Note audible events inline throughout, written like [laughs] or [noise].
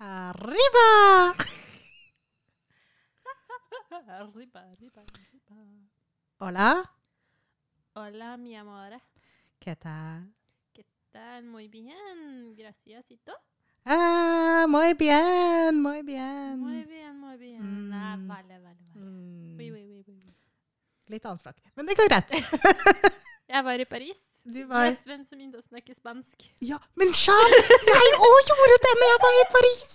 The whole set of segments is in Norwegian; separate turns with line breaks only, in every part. Arriba!
Arriba, arriba, arriba.
Hola,
Hola, mi amore.
¿qué tal?
¿Qué tal? Muy bien. Gracias. ¿Y tú?
Ah, muy bien, muy bien.
Muy bien, muy bien. Ah,
Mm.
vale, vale, vale.
Mm,
Oui, oui, oui, oui. oui.
Litt annet språk. Men det går [laughs] greit.
Jeg var i Paris.
Du var
Vet hvem som begynte å snakke spansk?
Ja, men sjæl! Jeg òg gjorde det når jeg var i Paris!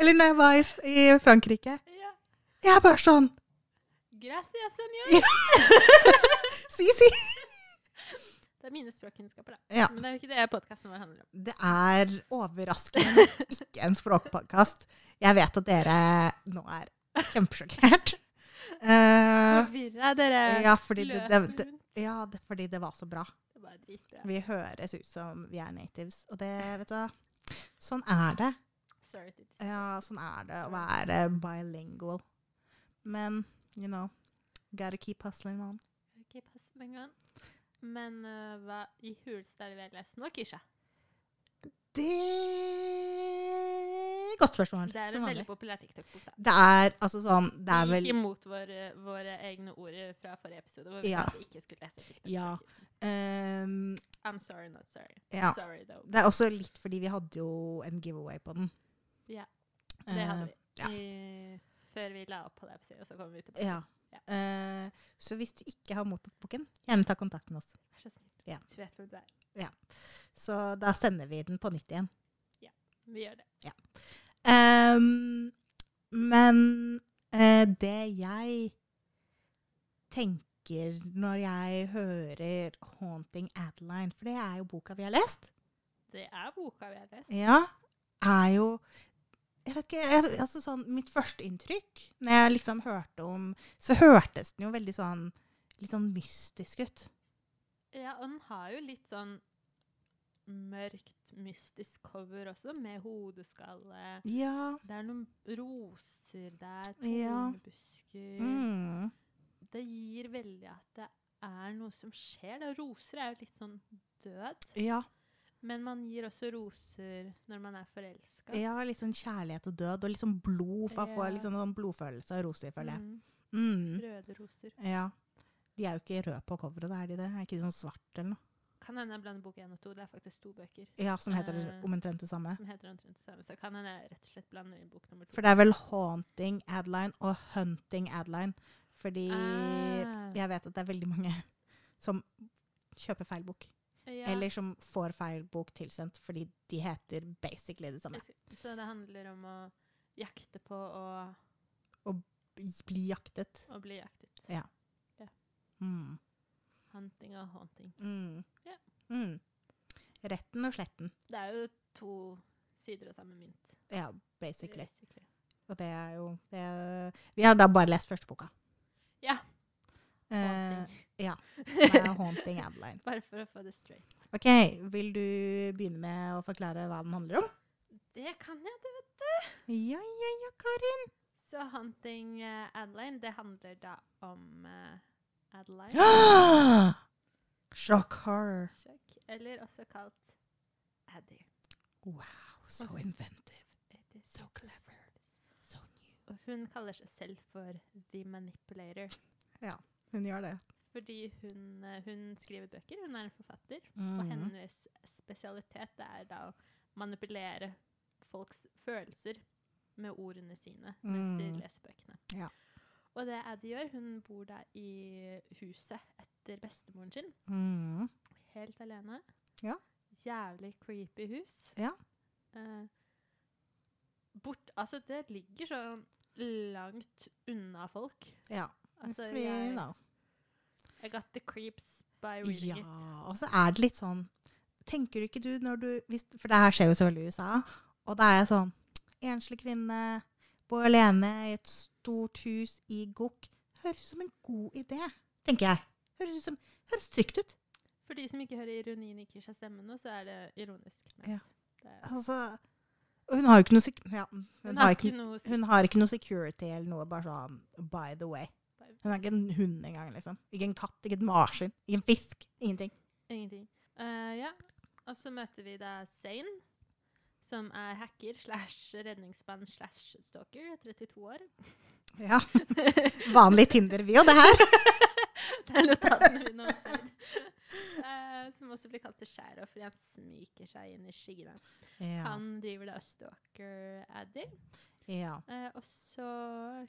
Eller når jeg var i, S- i eh, Frankrike.
Ja.
Jeg er bare sånn [laughs]
Gracias,
Ja.
senor.
Si, si!
Det er mine språkkunnskaper, da.
Ja.
Men det er jo ikke det podkasten vår handler om.
Det er overraskende nok ikke en språkpodkast. Jeg vet at dere nå er [laughs] kjempesjokkert. Eh,
Forvirra, dere.
ja, fordi det, det, det,
rundt.
ja, det, fordi det var så bra.
Det var dritbra.
Vi høres ut som vi er natives, og det, vet du hva Sånn er det.
Sorry to disturb.
Ja, sånn er det å være bilingual. Men, you know, gotta keep hustling on.
Ok, pass den gang. Men eh, hva i huleste er det vi har lest nå, Kisha?
Det Godt spørsmål.
Det er
som
en
vanlig.
veldig populær TikTok-bok, da.
Det er altså sånn Det er
Vi
vel
gikk imot våre, våre egne ord fra forrige episode, hvor vi
Ja.
sa at vi ikke skulle lese TikTok.
Ja. ehm,
I'm sorry, not sorry.
Ja.
Sorry, though.
Det er også litt fordi vi hadde jo en giveaway på den.
Ja, Det hadde vi.
Eh, ja.
I, før vi la opp på det episodet, og så kom vi tilbake.
Ja.
Ja.
Eh, så hvis du ikke har mottatt boken, gjerne ta kontakt med oss.
Vær så snill.
Ja.
Du vet hvem du er.
Så da sender vi den på nytt igjen.
Vi gjør det.
Ehm, men eh, det jeg tenker når jeg hører 'Haunting Adeline', for det er jo boka vi har lest,
Det er boka vi har lest.
ja, er jo jeg vet ikke, jeg, altså sånn, Mitt førsteinntrykk når jeg liksom hørte om Så hørtes den jo veldig sånn litt sånn mystisk ut.
Ja, og den har jo litt sånn mørkt, mystisk cover også, med hodeskalle.
Ja.
Det er noen roser der,
Ja.
tornebusker
Mm.
Det gir veldig at det er noe som skjer. Da. Roser er jo litt sånn død,
Ja.
men man gir også roser når man er forelska.
ja. Litt sånn kjærlighet og død, og litt sånn blod. For jeg får
Ja.
litt sånn, sånn blodfølelse av roser, føler jeg.
Mm,
Mm.
røde roser.
Ja. De er jo ikke røde på coveret, da, er de det? Er ikke de sånn svart eller noe?
Kan hende jeg blander bok én og to. Det er faktisk to bøker
Ja, som heter
Eh.
omtrent det samme.
som heter omtrent det samme. Så kan hende jeg rett og slett blander inn bok nummer to.
For det er vel 'Haunting Adeline' og 'Hunting Adeline'. Fordi
Ah.
jeg vet at det er veldig mange som kjøper feil bok.
Ja.
Eller som får feil bok tilsendt, fordi de heter basically det samme.
Så det handler om å jakte på og,
Bli jaktet.
og bli jaktet.
Ja. Mm.
Hunting og haunting.
Mm.
Ja.
Mm. Retten og sletten.
Det er jo to sider av samme mynt.
Ja, basically.
basically.
Og det er jo det Vi har da bare lest første boka.
Ja.
Eh,
Haunting. [laughs]
som [laughs] er 'Haunting Adeline'.
Bare for å få det straight.
Ok, Vil du begynne med å forklare hva den handler om?
Det kan jeg, det vet du.
Ja, ja, ja, Karin.
Så Hunting eh, Adeline, det handler da om eh, Adeline.
[gasps] Ah! [gasps] Shock horror.
Sjekk. Eller også kalt Addy.
So inventive.
It is-
So clever. So new.
Og hun kaller seg selv for The Manipulator.
Hun gjør det.
Fordi hun, eh, hun skriver bøker, hun er en forfatter.
Mm-hmm. Mhm.
Og hennes spesialitet det er da å manipulere folks følelser med ordene sine mens de
Mm.
leser bøkene.
Ja.
Og det Addy gjør, hun bor da i huset etter bestemoren sin,
Mm.
helt alene.
Ja.
Jævlig creepy hus.
Ja.
Eh, bort, altså det ligger sånn langt unna folk.
Ja.
Altså,
Fordi,
jeg,
no.
I got the creeps by reading
ja.
it.
Og så er det litt sånn Tenker du ikke du når du hvis, For det her skjer jo selvfølgelig i USA. Og da er jeg sånn Enslig kvinne, bor alene i et stort hus i gokk. Høres ut som en god idé, tenker jeg. Høres, ut som, høres trygt ut.
For de som ikke hører ironien i Kishas stemme nå, så er det ironisk. ment.
Ja.
Det
altså, og hun har jo ikke noe sik- ja, hun,
Hun
har
har
ikke,
ikke noe
hun har ikke noe security eller noe, bare sånn by the way. Hun har ikke en hund engang, liksom. Ikke en katt, ikke et marsvin, ikke en fisk. Ingenting.
Ingenting. Eh, ja. Og så møter vi da Zain, som er hacker slash redningsmann slash stalker, 32 år. [laughs]
Ja. Vanlig Tinder-bio, det her.
[laughs] Det er notatene mine om Zain. [laughs] Eh, som også blir kalt til sheriff fordi han smyker seg inn i skyggene.
Ja.
Han driver da og stalker Addy,
ja.
eh, og så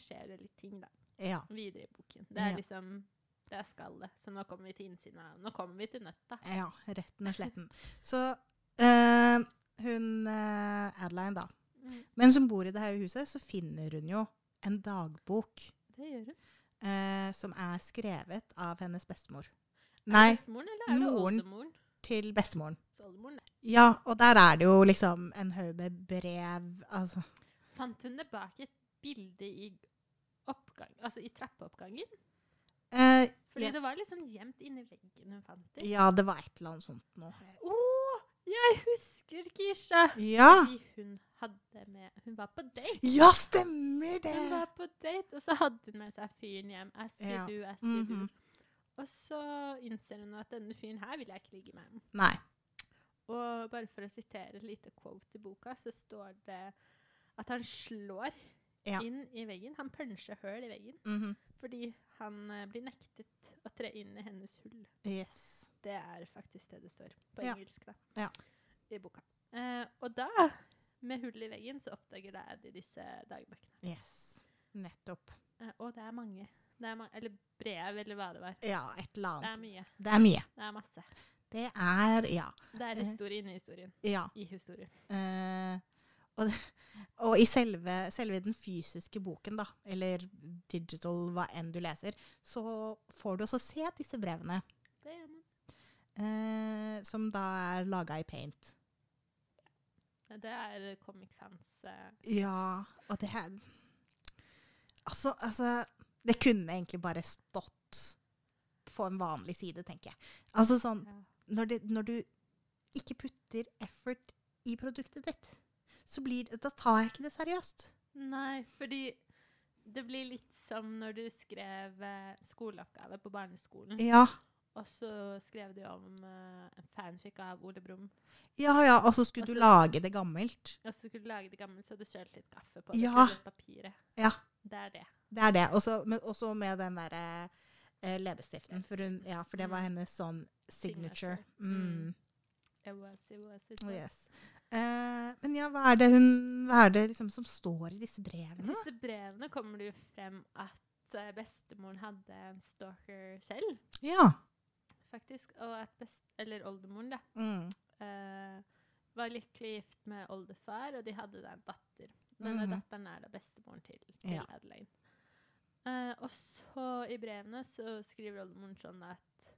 skjer det litt ting, da.
ja.
Videre i boken. Det er
Ja.
liksom det er skallet. Så nå kommer vi til innsiden av Nå kommer vi til nøtta.
Ja, retten og
[laughs]
sletten. Så eh, hun eh, Adeline, da.
Mm,
Mens hun bor i det her huset, så finner hun jo en dagbok
det gjør hun.
eh, som er skrevet av hennes bestemor.
Er
Nei,
det bestemoren, eller er det
moren.
oldemoren?
til bestemoren.
Så oldemoren
Ja, og der er det jo liksom en haug med brev altså,
Fant hun det bak et bilde i oppgang, altså i trappeoppgangen?
eh,
Fordi
Ja.
det var liksom gjemt inni veggen hun fant det.
Ja, det var et eller annet sånt noe.
Å, jeg husker Kisha!
Ja!
Fordi hun hadde med Hun var på date!
Ja, stemmer
Hun
det!
var på date, og så hadde hun med seg fyren hjem. As you
Ja.
do, as you
Mhm.
do. Og så innser hun at denne fyren her vil jeg ikke ligge med.
Nei.
Og bare for å sitere et lite quote i boka, så står det at han slår
Ja.
inn i veggen. Han puncher høl i veggen
mhm.
fordi han eh, blir nektet å tre inn i hennes hull.
Yes.
Det er faktisk det det står på
Ja.
engelsk da,
Ja.
i boka. Eh, og da, med hull i veggen, så oppdager da Addy disse dagbøkene.
Yes. Nettopp.
Eh, og det er mange. Det er ma eller brev, eller hva det var.
Ja, et eller
Det er
annet.
mye.
Det er mye.
Det er masse.
Det er Ja.
Det er
Eh.
historie inni historien.
ja.
I historien.
Eh, og, [laughs] og i selve, selve den fysiske boken, da, eller digital, hva enn du leser, så får du også se disse brevene,
Det gjør man.
eh, som da er laga i paint.
Eh, Det er eh, Comic Sans. Eh,
Ja, og det her Altså, altså Det kunne egentlig bare stått på en vanlig side, tenker jeg. Altså sånn
ja.
når, det, når du ikke putter effort i produktet ditt, så blir det Da tar jeg ikke det seriøst.
Nei, fordi det blir litt som når du skrev eh, skoleoppgave på barneskolen,
Ja.
og så skrev du om eh, en fanfic av Ole Brumm,
Ja, ja, og så skulle du
Altså-
lage det gammelt.
og så skulle du lage det gammelt, så hadde du sølt litt kaffe på det
Ja.
kullet papiret.
Ja.
Det er det.
Det er det. Og så- men også med den derre eh, leppestiften. For, hun, ja, for det var
Mm.
hennes sånn signature.
Signature.
Mm. oh,
It was, it was, it was.
Yes. Eh, men ja, hva er det hun Hva er det liksom som står i disse
I
brevene?
disse brevene kommer det jo frem at eh, bestemoren hadde en stalker selv,
Ja.
faktisk, og at best... Eller oldemoren, da.
Mm.
eh, var lykkelig gift med oldefar, og de hadde da en datter. Denne
Mhm.
datteren er da bestemoren til, til
Ja.
Adelaide. Eh, og så i brevene så skriver oldemoren sånn at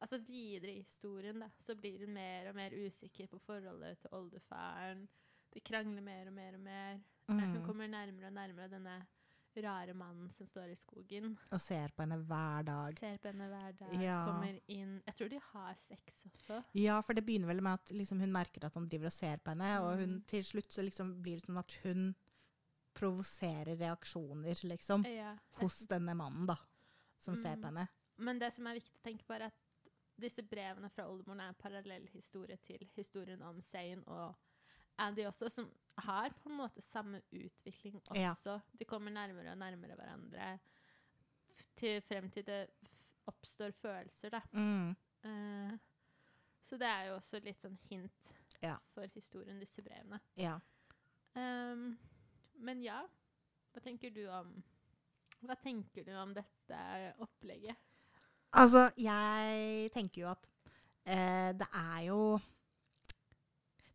altså videre i historien da, så blir hun mer og mer usikker på forholdet til oldefaren. De krangler mer og mer og mer. Eh, Hun
Mm.
kommer nærmere og nærmere denne rare mannen som står i skogen.
Og ser på henne hver dag.
Ser på henne hver dag,
Ja.
kommer inn Jeg tror de har sex også.
Ja, for det begynner vel med at liksom, hun merker at han driver og ser på henne, og hun,
Mm.
til slutt så liksom blir det sånn at hun provoserer reaksjoner, liksom,
Ja,
hos denne mannen, da, som ser
Eh, Mm.
på henne.
Men det som er viktig å tenke på, er at disse brevene fra oldemoren er en parallell historie til historien om Zain og Andy også, som har på en måte samme utvikling
Ja.
også. De kommer nærmere og nærmere hverandre f- til frem til det f- oppstår følelser, da.
Mm.
Eh, så det er jo også litt sånn hint
Ja.
for historien, disse brevene.
Ja.
Ehm, men ja, hva tenker du om Hva tenker du om dette opplegget?
Altså, jeg tenker jo at eh, det er jo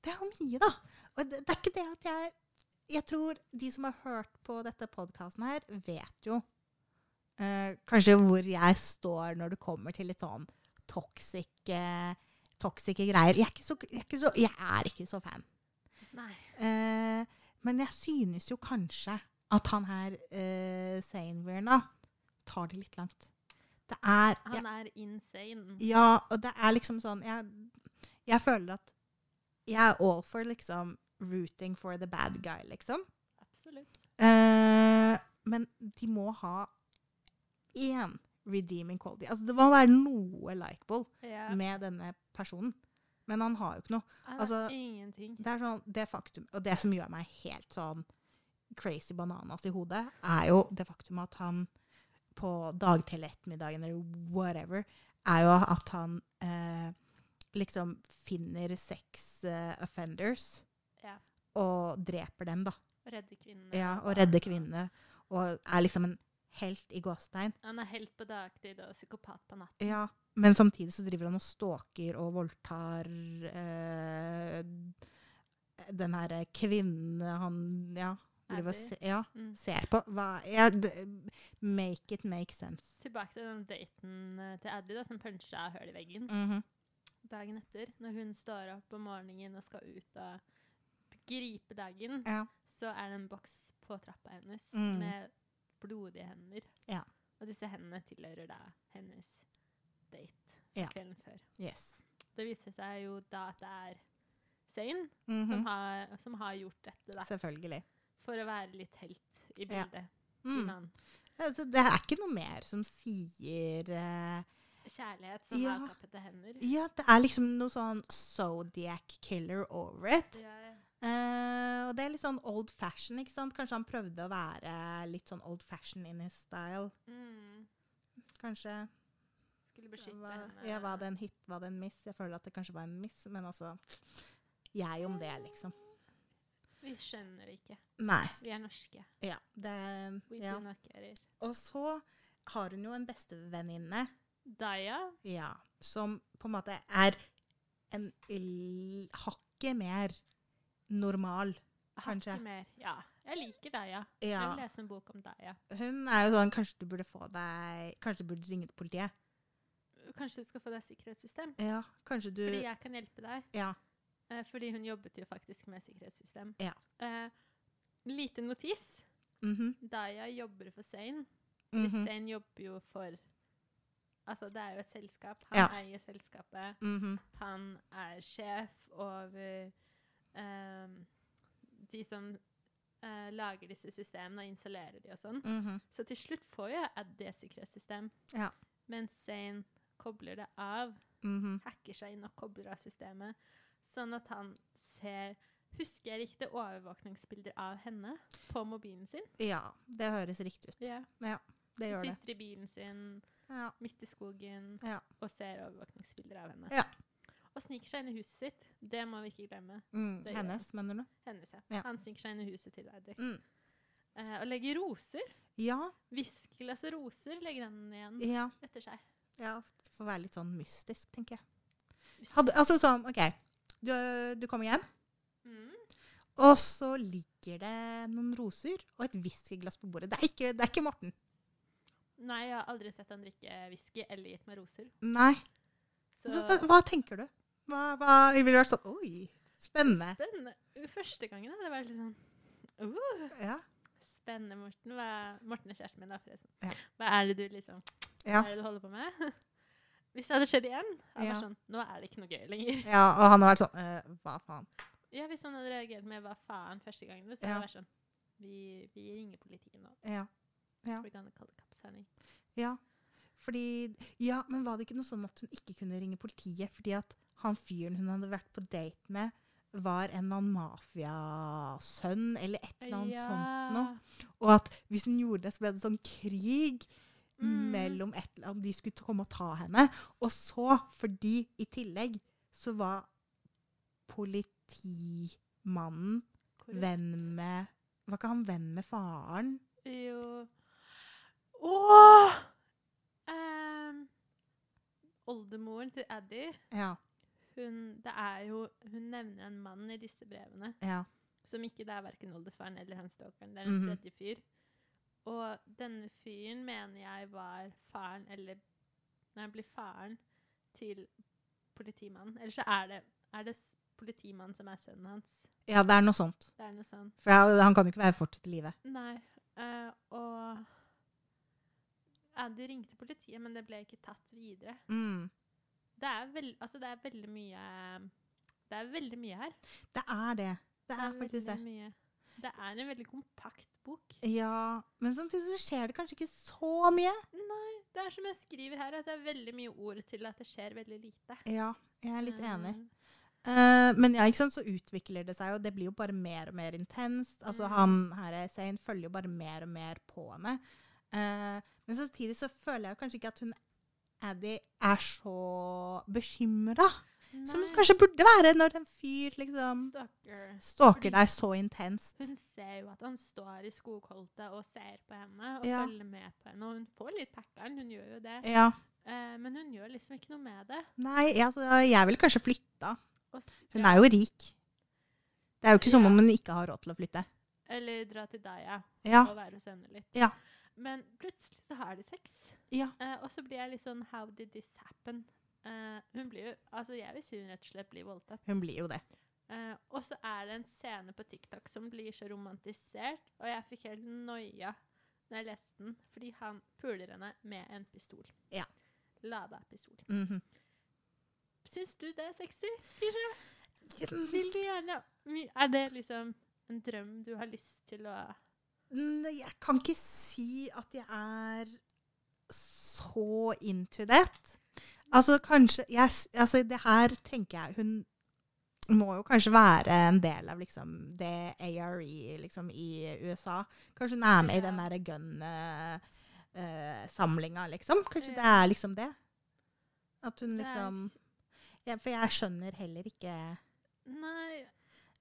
Det er jo mye, da. Og det, det er ikke det at jeg Jeg tror de som har hørt på dette podkasten her, vet jo eh, kanskje hvor jeg står når det kommer til litt sånn toxic eh, Toxiske greier. Jeg er ikke så, jeg er ikke så, jeg er ikke så fan.
Nei.
Eh, men jeg synes jo kanskje at han her, eh, Zainwear, da, tar det litt langt. Det er jeg-
Han er insane.
Ja, og det er liksom sånn Jeg, jeg føler at jeg er all for liksom rooting for the bad guy, liksom.
Absolutt.
Eh, men de må ha én redeeming quality. Altså, det må være noe likeable
Ja.
med denne personen. Men han har jo ikke noe.
Nei,
altså-
ingenting.
Det er sånn, det faktum, og det som gjør meg helt sånn crazy bananas i hodet, er jo det faktum at han på dagtid eller ettermiddagen eller whatever, er jo at han eh, liksom finner sex eh, offenders
Ja.
og dreper dem, da.
Redde kvinnene.
Ja, og redder kvinnene. Og er liksom en helt i gåstein.
Han er helt på dagtid og psykopat på natt.
Ja, men samtidig så driver han og stalker og voldtar eh, den herre kvinnen han ja, driver og
Abby.
se, ja,
Mm.
ser på. Hva, ja, d make it make sense.
Tilbake til den daten eh, til Addy da, som punchet hull i veggen
Mhm.
dagen etter. Når hun står opp om morgenen og skal ut og gripe dagen,
ja.
så er det en boks på trappa hennes
Mm.
med blodige hender.
Ja.
Og disse hendene tilhører da hennes date
Ja.
kvelden før.
Yes.
Det viser seg jo da at det er Zain som,
Mhm.
har, som har gjort dette, da.
Selvfølgelig.
For å være litt helt i
Ja.
bildet.
Mm.
Innan
Altså, det er ikke noe mer som sier eh,
kjærlighet som
Ja.
har kappete hender.
Ja, det er liksom noe sånn Zodiac killer over it.
Ja, ja.
Eh, og det er litt sånn old fashion, ikke sant? Kanskje han prøvde å være litt sånn old fashion in his style.
Mm.
Kanskje.
Skulle beskytte eh,
Hva,
henne.
ja, var det en hit, var det en miss? Jeg føler at det kanskje var en miss, men altså Jeg om det, liksom.
Vi skjønner det ikke.
Nei.
Vi er norske.
Ja. Det
Mm. We
ja.
do not care. it.
Og så har hun jo en bestevenninne,
Daya
ja, som på en måte er en l- hakket mer normal, kanskje.
ikke mer. Ja. Jeg liker Daya. Jeg
Ja.
vil lese en bok om Daya.
Hun er jo sånn Kanskje du burde få deg Kanskje du burde ringe til politiet.
Kanskje du skal få deg sikkerhetssystem?
Ja, kanskje du
Fordi jeg kan hjelpe deg.
Ja.
Eh, fordi hun jobbet jo faktisk med sikkerhetssystem.
Ja.
Eh, lite notis.
mhm,
Daya jobber for Zain.
mhm,
Zain jobber jo for Altså, det er jo et selskap. Han
Ja.
eier selskapet.
mhm.
Han er sjef over ehm, de som eh, lager disse systemene og installerer de og sånn.
mhm.
Så til slutt får jo Addy et sikkerhetssystem.
Ja.
Mens Zane kobler det av,
mhm.
hacker seg inn og kobler av systemet. Sånn at han ser Husker jeg riktig overvåkningsbilder av henne på mobilen sin?
Ja, det høres riktig ut. Det
Hun
gjør det.
sitter i bilen sin
Ja.
midt i skogen
Ja.
og ser overvåkningsbilder av henne.
Ja.
Og sniker seg inn i huset sitt. Det må vi ikke glemme.
Mm,
Det gjør
hennes, mener du?
Hennes, ja.
Ja.
Han sniker seg inn i huset til Eddie.
Mm.
Eh, og legger roser.
Ja,
Viskeløse roser legger han igjen
ja.
etter seg.
ja. Det får være litt sånn mystisk, tenker jeg. Hadde, altså sånn, OK. Du, du kommer hjem,
Mm.
og så ligger det noen roser og et whiskyglass på bordet. Det er ikke, det er ikke Morten.
Nei, jeg har aldri sett han drikke whisky eller gitt meg roser.
Nei.
Så,
Så, hva, hva tenker du? Hva, hva, jeg ville vært sånn Oi, spennende.
spennende. Første gangen hadde jeg vært litt sånn uh,
Ja.
Spennende, Morten. Hva, Morten er kjæresten min, da, forresten.
Ja.
Hva er det du liksom
Ja.
Hva er det du holder på med? [laughs] Hvis det hadde skjedd igjen, hadde jeg
Ja.
vært sånn Nå er det ikke noe gøy lenger. [laughs]
ja og han har vært sånn «Eh, Hva faen?
Ja, Hvis han hadde reagert med 'hva faen' første gangen, så hadde
Ja.
jeg vært sånn Vi, vi ringer politiet nå.
Ja. Ja.
We're gonna call the cops, honey.
Ja. Fordi, ja, men var det ikke noe sånn at hun ikke kunne ringe politiet fordi at han fyren hun hadde vært på date med, var en eller annen mafiasønn eller et eller annet sånt noe? Og at hvis hun gjorde det, så ble det sånn krig
Mm.
mellom et eller annet De skulle komme og ta henne. Og så, fordi i tillegg så var politimannen
Korrupt.
venn med Var ikke han venn med faren?
Jo Åh! Ehm, oldemoren til Addy
Ja.
hun, det er jo, hun nevner en mann i disse brevene
Ja.
som ikke det er verken oldefaren eller hans stalkeren. Det er en
Mhm.
tredje fyr. Og denne fyren mener jeg var faren eller Nei, blir faren til politimannen. Eller så er det, er det s- politimannen som er sønnen hans.
ja, det er noe sånt.
Det er noe sånn
For han han kan jo ikke være fortsatt i live.
Nei. eh, og Addy ringte politiet, men det ble ikke tatt videre.
Mm.
Det er, vel- altså det er veldig mye Det er veldig mye her.
Det er det. Det er
veldig
faktisk det.
Mye. Det er en veldig kompakt bok.
Ja, men samtidig så skjer det kanskje ikke så mye.
Nei, det er som jeg skriver her, at det er veldig mye ord til at det skjer veldig lite.
Ja, jeg er litt enig.
Eh,
Eh, men ja, ikke sant, så utvikler det seg, og det blir jo bare mer og mer intenst. Altså,
Mm.
han her Zain følger jo bare mer og mer på henne. Eh, men samtidig så føler jeg jo kanskje ikke at hun Addy er så bekymra som hun
Mm. nei,
kanskje burde være når en fyr liksom
Stalker.
stalker deg så intenst.
Hun ser jo at han står i skogholtet og ser på henne og
Ja.
følger med på henne. Og hun får litt packeren, hun gjør jo det.
Ja.
Eh, men hun gjør liksom ikke noe med det.
Nei, ja, så jeg ville kanskje flytta.
Og s-
Hun
ja,
er jo rik. Det er jo ikke som
Ja.
om hun ikke har råd til å flytte.
Eller dra til Daya
Ja.
og være hos henne litt.
Ja.
Men plutselig så har de sex.
Ja.
Eh, og så blir jeg litt sånn How did this happen? Eh, hun blir jo Altså, jeg vil si hun rett og slett blir voldtatt.
Hun blir jo det.
Eh, og så er det en scene på TikTok som blir så romantisert, og jeg fikk helt noia når jeg leste den, fordi han puler henne med en pistol.
Ja.
Lada pistol.
Mhm.
Syns du det er sexy? Kirsi? Vil du gjerne Er det liksom en drøm du har lyst til å
Mm, Jeg kan ikke si at jeg er så into that. Altså, kanskje jeg, s- altså, Det her tenker jeg Hun må jo kanskje være en del av liksom, det ARE liksom, i USA. Kanskje hun er med i den
Ja.
derre gun-samlinga, liksom. Kanskje det
Ja.
er liksom det. At hun
Det er
liksom
s-
ja, For jeg skjønner heller ikke
Nei.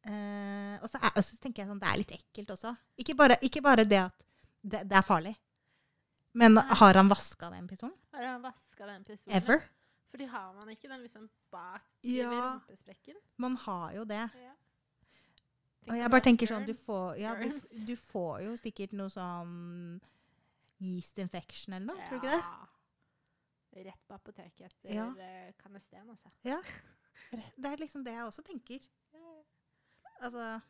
Eh, og så er, og så tenker jeg sånn, det er litt ekkelt også. Ikke bare, ikke bare det at det, det er farlig. Men
Nei.
har han vaska den pistolen?
Har han vaska den pistolen?
Ever?
Fordi har man ikke den liksom bak
Ja.
ved rumpesprekken?
Man har jo det.
Ja.
Og jeg bare tenker sånn, du får, ja, du, f- du får jo sikkert noe sånn yeast infection eller noe, tror du ikke det?
Rett på apoteket etter
Ja.
eh, kanesten, altså.
Det er liksom det jeg også tenker. Altså,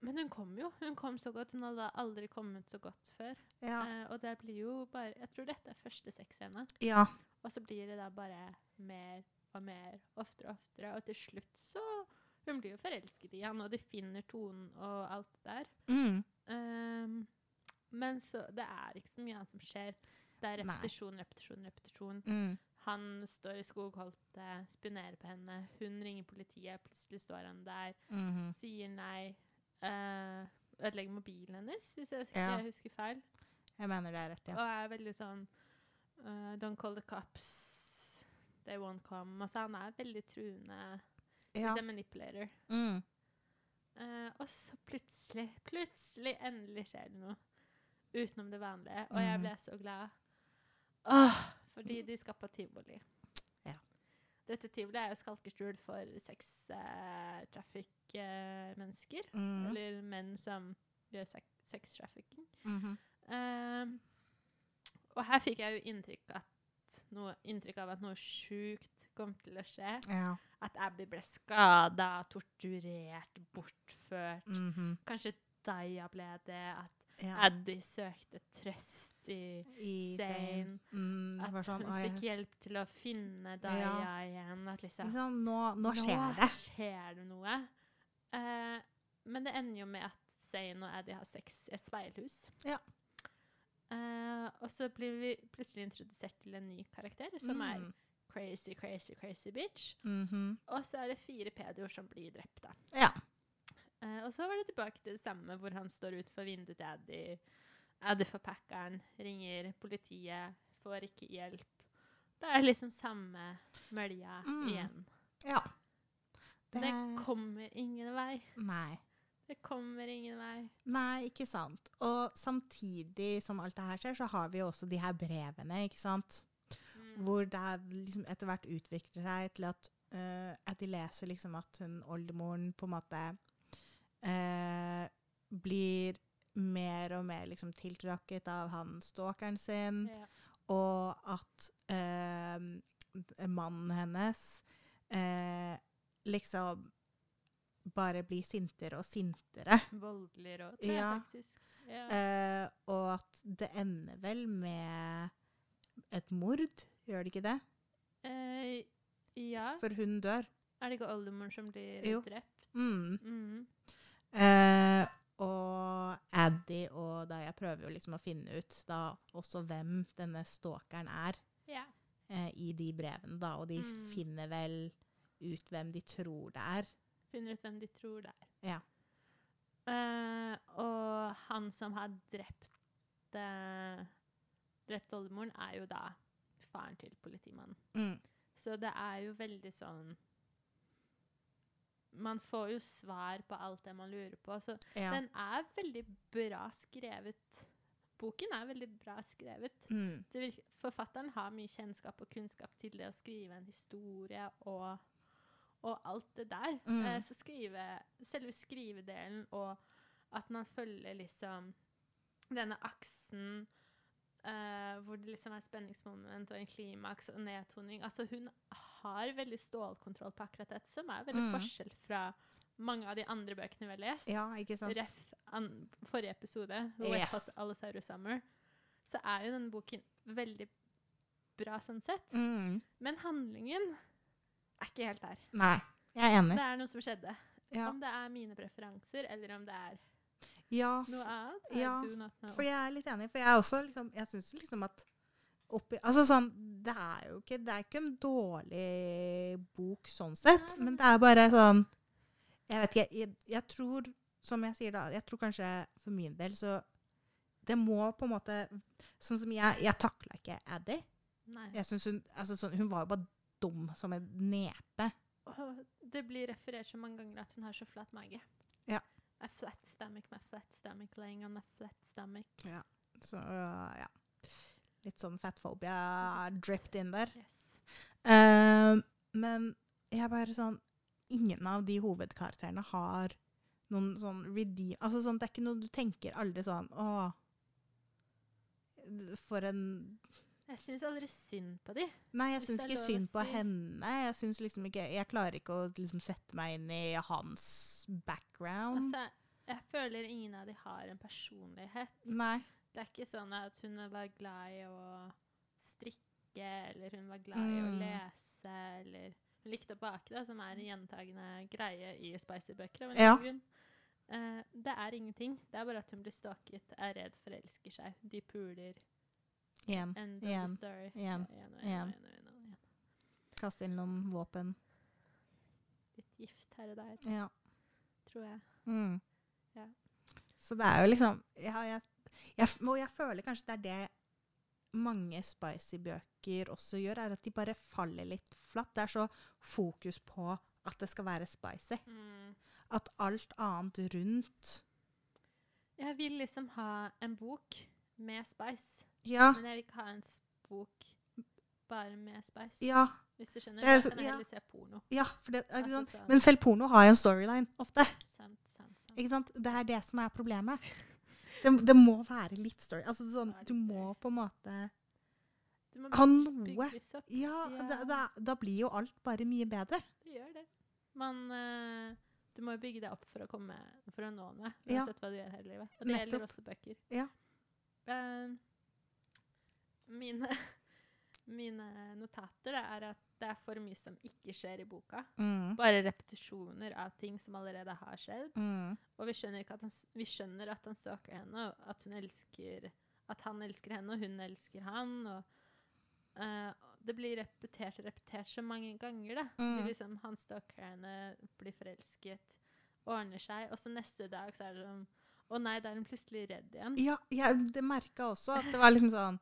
Men hun kom jo. Hun kom så godt. Hun hadde aldri kommet så godt før.
ja.
Eh, og det blir jo bare Jeg tror dette er første sexscene.
ja.
Og så blir det da bare mer og mer, oftere og oftere. Og til slutt så Hun blir jo forelsket i han, og de finner tonen og alt det der.
Mm.
Ehm, men så Det er ikke så mye annet som skjer. Det er
Nei.
repetisjon, repetisjon, repetisjon.
Mm.
Han står i skogholtet, eh, spionerer på henne. Hun ringer politiet, plutselig står han der,
mhm.
sier nei. eh, ødelegger mobilen hennes, hvis jeg ikke
Ja.
husker feil.
Jeg mener det er rett, ja.
Og er veldig sånn eh, Don't call the cops. They won't come. Altså, han er veldig truende.
ja.
Hvis jeg manipulerer.
Mm.
Eh, og så plutselig, plutselig, endelig skjer det noe. Utenom det vanlige. Og jeg
Mhm.
ble så glad. Åh, fordi de skapte tivoli.
Ja.
Dette tivoli er jo skalkeskjul for sextrafikk-mennesker.
Mm.
Eller menn som gjør sex- sex-trafficking.
mhm.
Ehm, og her fikk jeg jo inntrykk, at noe, inntrykk av at noe sjukt kom til å skje.
Ja.
At Abby ble skada, torturert, bortført.
mhm.
Kanskje Daya ble det. At
ja.
Addy søkte trøst i
I
Zayn.
Mm, det
At
var sånn,
hun
«Oi,
fikk hjelp til å finne Daya
Ja.
igjen. At liksom
Liksom, nå, nå skjer det.
skjer det noe. Eh, men det ender jo med at Zain og Addy har sex i et speilhus.
Ja.
Eh, og så blir vi plutselig introdusert til en ny karakter, som er
Mm.
crazy, crazy, crazy bitch.
Mhm.
Og så er det fire pedoer som blir drept, da.
Ja.
Eh, og så var det tilbake til det samme, hvor han står utenfor vinduet til Addy. Addy får packeren, ringer politiet, får ikke hjelp. Det er liksom samme mølja
Mm.
igjen.
ja.
Det,
Det er
kommer ingen vei.
Nei.
Det kommer ingen vei.
Nei, ikke sant. Og samtidig som alt det her skjer, så har vi jo også de her brevene, ikke sant.
Mm.
Hvor det er liksom etter hvert utvikler seg til at, eh, at de leser liksom at hun oldemoren på en måte eh, blir mer og mer liksom tiltrakket av han stalkeren sin.
Ja.
Og at eh, mannen hennes eh, liksom bare blir sintere og sintere.
Voldeligere òg, tror
Ja.
jeg faktisk. Ja.
Eh, og at det ender vel med et mord, gjør det ikke det?
Eh, ja.
For hun dør.
Er det ikke oldemoren som blir
Jo.
drept?
Mm.
Mm.
Eh, og Addy og Daya prøver jo liksom å finne ut da også hvem denne stalkeren er
Ja.
eh, i de brevene, da. Og de
Mm.
finner vel ut hvem de tror det er.
Finner ut hvem de tror det er.
Ja.
Eh, og han som har drept eh, drept oldemoren, er jo da faren til politimannen.
Mm.
Så det er jo veldig sånn Man får jo svar på alt det man lurer på. Så
Ja.
den er veldig bra skrevet. Boken er veldig bra skrevet.
Mm.
det virker, forfatteren har mye kjennskap og kunnskap til det å skrive en historie og, og alt det der.
Mm.
Eh, så skrive, selve skrivedelen og at man følger liksom denne aksen eh, hvor det liksom er spenningsmoment og en klimaks og nedtoning. Altså hun har veldig stålkontroll på akkurat dette, som er veldig
Mm.
forskjell fra mange av de andre bøkene vi har lest.
ja, ikke sant?
Ref an, forrige episode,
Yes.
yes. Allosaurus Summer, så er jo denne boken veldig bra sånn sett.
Mm.
Men handlingen er ikke helt der.
Nei, jeg er
Det
enig.
er noe som skjedde.
Ja.
Om det er mine preferanser, eller om det er
ja,
noe annet. I
Ja,
do not know.
For jeg er litt enig, for jeg er også liksom Jeg syns liksom at oppi Altså sånn Det er jo ikke Det er ikke en dårlig bok sånn sett, men det er bare sånn Jeg vet ikke Jeg, jeg, jeg tror, som jeg sier da Jeg tror kanskje for min del så Det må på en måte Sånn som jeg Jeg takla ikke Addy.
Nei.
Jeg synes hun Altså sånn Hun var jo bare dum som en nepe.
Åh, det blir referert så mange ganger at hun har så flat mage.
Ja.
A flat stomach, my flat stomach, laying on my flat stomach.
Så ja. Litt sånn fatphobia dripped in der.
Yes.
Eh, men jeg bare sånn Ingen av de hovedkarakterene har noen sånn redeem... Altså sånn, det er ikke noe du tenker aldri sånn Å, for en
Jeg syns aldri synd på de.
Nei, jeg
Hvis
syns
det er
ikke
lov å
synd på
si.
henne. Jeg syns liksom ikke Jeg klarer ikke å liksom sette meg inn i hans background.
Altså, jeg føler ingen av de har en personlighet.
Nei.
Det er ikke sånn at hun var glad i å strikke, eller hun var glad i å
Mm.
lese, eller Hun likte å bake, da, som er en gjentagende greie i Spicy-bøker. av en
Ja.
eller annen grunn. Eh, det er ingenting. Det er bare at hun blir stalket, er redd, forelsker seg. De puler.
Igjen.
End of
Igjen.
the story.
Igjen.
Ja, igjen, og
Igjen.
igjen, og igjen, og igjen.
Kaste inn noen våpen.
Litt gift her og der,
Ja.
tror jeg.
Mm.
Ja.
Så det er jo liksom ja, jeg, jeg, f- Og jeg føler kanskje det er det mange spicy-bøker også gjør, er at de bare faller litt flatt. Det er så fokus på at det skal være spicy.
Mm.
At alt annet rundt
Jeg vil liksom ha en bok med spice.
Ja.
Men jeg vil ikke ha en s- bok bare med spice.
Ja.
Hvis du skjønner?
Det er
Da
så-
kan jeg
ja.
heller se porno.
ja for det, er ikke
Altså,
sant?
så-
Men selv porno har jo en storyline ofte.
Sant, sant, sant.
Ikke sant? Det er det som er problemet. Det, det må være litt story. Altså sånn,
Det er
du
litt
må på en måte
Du må
ha noe
bygges opp.
Ja,
Ja.
Da, da, da blir jo alt bare mye bedre.
Du gjør det. Man, eh, du må jo bygge deg opp for å, komme, for å nå noe.
Ja.
Uansett hva du gjør her i livet. Og det gjelder
Nettopp.
også bøker.
Ja.
Eh, mine, [laughs] mine notater da, er at det er for mye som ikke skjer i boka.
Mm.
Bare repetisjoner av ting som allerede har skjedd.
Mm.
Og vi skjønner, ikke at han, s- vi skjønner at han stalker henne, og at hun elsker At han elsker henne, og hun elsker han. Og, eh, det blir repetert og repetert så mange ganger. da. Det
Mm.
er liksom, han stalker henne, blir forelsket, ordner seg, og så neste dag så er det sånn Å nei, da er hun plutselig redd igjen.
Ja, jeg det merka også at det var liksom sånn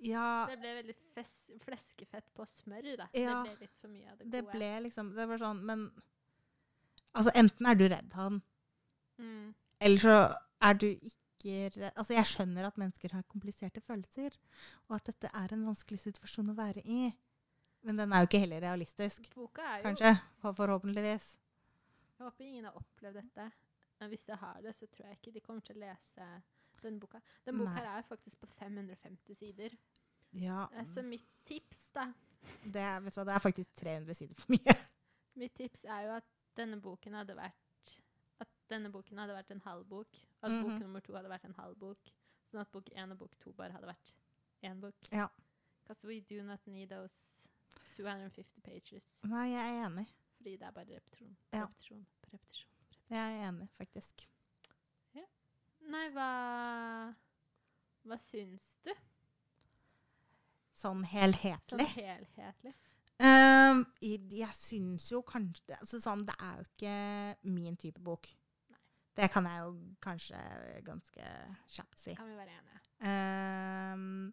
Ja,
Det ble veldig fes fleskefett på smør. da.
Ja.
Det ble litt for mye av det gode.
det ble liksom Det var sånn, men Altså, enten er du redd han,
mm.
eller så er du ikke redd Altså, jeg skjønner at mennesker har kompliserte følelser, og at dette er en vanskelig situasjon å være i, men den er jo ikke heller realistisk.
Boka er jo
Kanskje. for- Forhåpentligvis.
Jeg håper ingen har opplevd dette. Men hvis de har det, så tror jeg ikke de kommer til å lese den boka. Den boka
Nei. Ah.
her er faktisk på 550 sider.
Ja, mm,
Eh, Så mitt tips, da
det, er- vet du hva, det er faktisk 300 sider for mye. [laughs]
Mitt tips er jo at denne boken hadde vært At denne boken hadde vært en halv bok. At
Mhm.
bok nummer to hadde vært en halv bok. Sånn at bok én og bok to bare hadde vært én bok.
Ja.
Because we do not need those 250 pages.
Nei, jeg er enig.
Fordi det er bare repetisjon.
Ja.
Repetisjon. repetisjon.
Jeg er enig, faktisk.
Nei, hva Hva syns du?
Sånn
Sånn
helhetlig.
helhetlig.
Ehm, i- jeg syns jo kanskje altså sånn, Det er jo ikke min type bok.
Nei.
Det kan jeg jo kanskje ganske kjapt si.
Kan vi være
Ehm,
enige?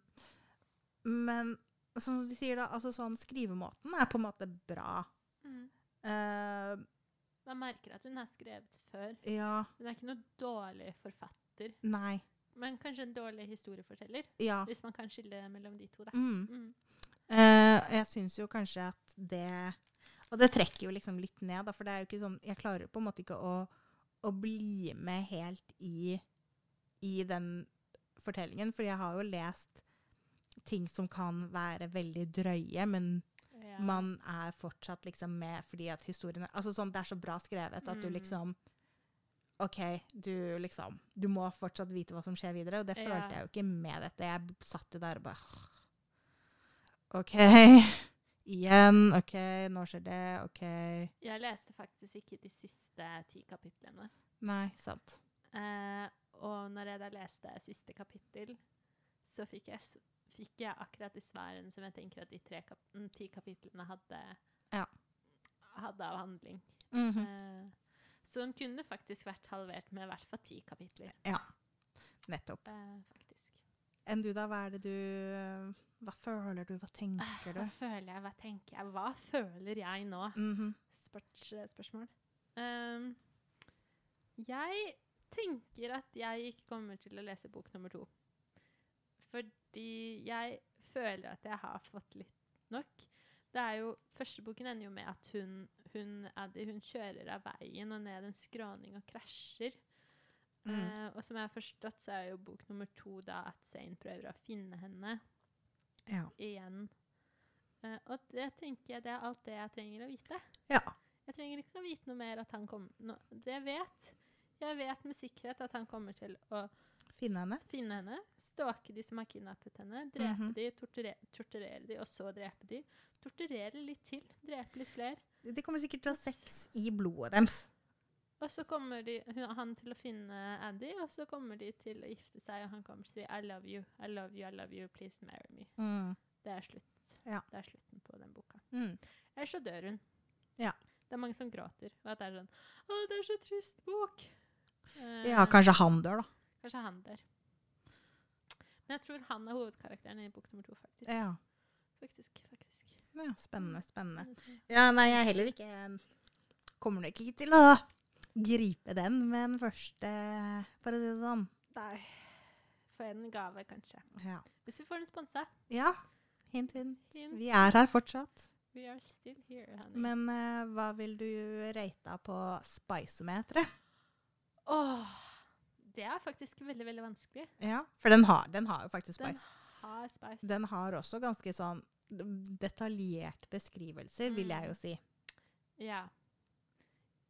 men som de sier, da, altså sånn skrivemåten er på en måte bra.
Mm.
Ehm,
Man merker at hun har skrevet før.
ja,
Hun er ikke noe dårlig forfatter,
nei,
men kanskje en dårlig historieforteller.
ja.
Hvis man kan skille mellom de to, da.
Mm.
Mm.
Eh, og jeg syns jo kanskje at det Og det trekker jo liksom litt ned, da, for det er jo ikke sånn Jeg klarer på en måte ikke å, å bli med helt i, i den fortellingen, for jeg har jo lest ting som kan være veldig drøye, men
Ja.
man er fortsatt liksom med fordi at historien er- Altså sånn, det er så bra skrevet at du
Mm.
liksom OK, du liksom Du må fortsatt vite hva som skjer videre, og det
Ja.
følte jeg jo ikke med dette. Jeg b- satt jo der og bare «Åh, OK. [laughs] Igjen. OK, nå skjer det. OK.
Jeg leste faktisk ikke de siste ti kapitlene.
Nei, sant.
Eh, og når jeg da leste siste kapittel, så fikk jeg, s- fikk jeg akkurat de svarene som jeg tenker at de tre kap mm, ti kapitlene hadde,
Ja.
hadde av handling.
Mhm,
Eh, så den kunne faktisk vært halvert med i hvert fall ti kapitler.
Nettopp.
Eh, faktisk.
Enn du, da? Hva er det du øh, Hva føler du? Hva tenker du?
Ah, Hva føler jeg? Hva tenker jeg? Hva føler jeg nå?
Mhm.
Sports, eh, spørsmål. Ehm, jeg tenker at jeg ikke kommer til å lese bok nummer to. Fordi jeg føler at jeg har fått litt nok. Det er jo, Første boken ender jo med at hun, hun, Addie, hun kjører av veien og ned en skråning og krasjer.
Mm.
Eh, og som jeg har forstått, så er jo bok nummer to da at Zain prøver å finne henne
Ja.
igjen. Eh, og det tenker jeg, det er alt det jeg trenger å vite.
Ja.
Jeg trenger ikke å vite noe mer at han kommer nå, Det jeg vet jeg vet med sikkerhet at han kommer til å
Finne henne?
s- finne henne, stalke de som har kidnappet henne, drepe
Mhm.
de, torture, torturere de, og så drepe de. Torturere litt til, drepe litt flere.
De kommer sikkert til å ha sex i blodet deres.
Og så kommer de, hun- han til å finne Addy, og så kommer de til å gifte seg, og han kommer til å si I love you, I love you, I love you, please marry me.
Mm.
Det er slutt.
Ja.
Det er slutten på den boka.
Mm.
Eller så dør hun.
Ja.
Det er mange som gråter. Og at det er sånn Å, det er så trist bok. Eh,
Ja, kanskje han dør, da.
Kanskje han dør. Men jeg tror han er hovedkarakteren i bok nummer to, faktisk.
Ja.
Faktisk, faktisk.
ja spennende, spennende.
Spennende.
Ja, nei, jeg heller ikke Kommer nok ikke til å gripe den med den første, for å si det sånn.
Nei. Få en gave, kanskje.
Ja.
Hvis vi får den sponsa.
ja. Hint, hint.
Hint.
Vi er her fortsatt.
We are still here, honey.
Men eh, hva vil du rate på spiceometeret?
Åh, det er faktisk veldig, veldig vanskelig.
Ja. For den har, den har jo faktisk
Den
spice.
har spice.
Den har også ganske sånn detaljert beskrivelser,
Mm.
vil jeg jo si.
Ja.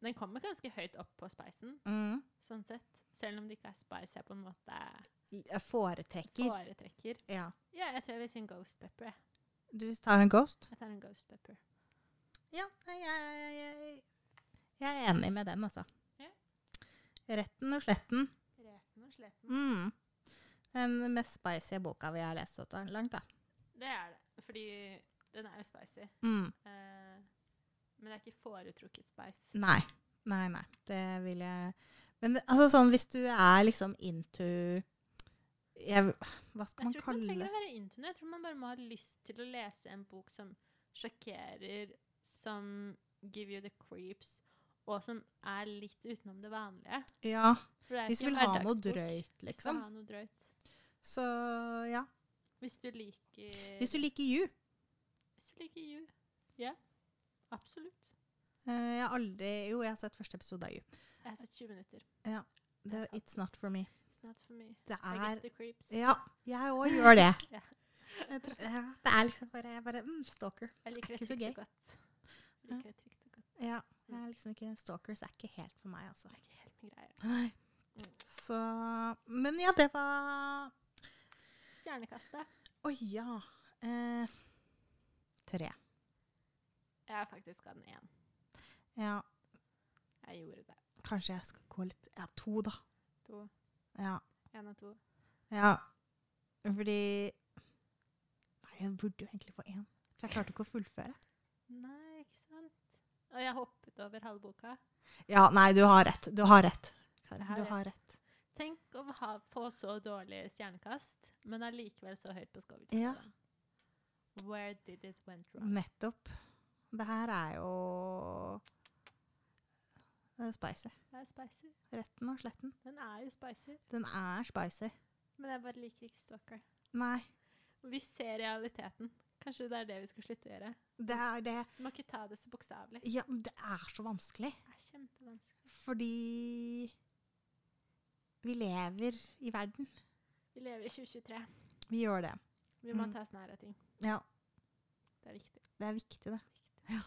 Den kommer ganske høyt opp på spicen,
Mm.
sånn sett. Selv om det ikke er spice jeg på en måte
Jeg foretrekker.
foretrekker.
Ja.
Ja, jeg tror jeg vil si en ghost pepper. jeg.
Du tar en ghost?
Jeg tar en ghost pepper.
Ja, nei, jeg, jeg, jeg er enig med den, altså.
Ja.
Retten og sletten.
Reten og sletten.
Mm. Den mest spicy boka vi har lest så langt, da.
Det er det, fordi den er jo spicy.
Mm.
Eh, men det er ikke foretrukket spice.
Nei. Nei, nei. Det vil jeg Men det- altså sånn, hvis du er liksom into jeg, Hva skal man
Jeg tror ikke man
kalle
trenger
det?
å være into det. Jeg tror man bare må ha lyst til å lese en bok som sjokkerer, som give you the creeps, og som er litt utenom det vanlige.
Ja.
For det er
Hvis
ikke
du vil
en
ha noe
hverdagsbok.
drøyt,
Hvis du vil
liksom.
ha noe drøyt.
Så ja.
Hvis du liker
Hvis du liker You.
Hvis du liker you. Ja. Absolutt.
Eh, Jeg har aldri Jo, jeg har sett første episode av You.
Jeg har sett 20 minutter.
Det, it's not for me.
It's not for me.
Det
I
er
get the creeps.
Ja, jeg òg gjør [laughs] det.
Ja.
Jeg tror- ja, det er liksom bare, jeg bare mm, Stalker.
Jeg liker det
ikke så
trygt og godt. Jeg
Ja.
liker det trygt og godt.
Ja, jeg er liksom ikke Stalkers er ikke helt for meg, altså.
Det er ikke helt min greie. Mm.
Nei. Så Men ja, det var
Stjernekastet.
Å ja. Eh, tre.
Jeg er faktisk av den én.
Ja,
Jeg gjorde det.
kanskje jeg skal gå litt Ja, to, da.
To.
Ja.
En av to.
ja. Fordi Nei, jeg burde jo egentlig få én. For jeg klarte ikke å fullføre.
Nei, ikke sant? Og jeg hoppet over halve boka.
Ja, nei, du har rett. Du har rett. Kari,
Jeg har
Du
rett.
har rett.
Tenk å ha, få så dårlig stjernekast, men allikevel så høyt på skåvelsen.
Ja.
Where did it went wrong?
Nettopp. Det her er jo Det er spicy.
Det er spicy.
Retten og sletten.
Den er jo spicy,
Den er spicy.
men jeg bare liker ikke stalker.
Nei,
Vi ser realiteten. Kanskje det er det vi skal slutte å gjøre.
det er det
Vi må ikke ta det så bokstavelig.
Ja, men det er så vanskelig.
Det er kjempevanskelig.
Fordi vi lever i verden.
Vi lever i 2023.
Vi gjør det.
Vi må
Mm.
ta oss nær av ting.
Ja,
Det er viktig.
det er viktig, det. Ja.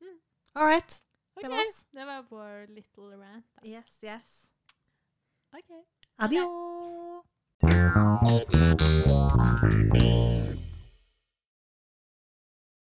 Mm.
All right.
Ok,
Det var oss.
Det var vår little rant. Da.
Yes, yes.
Ok.
Adios.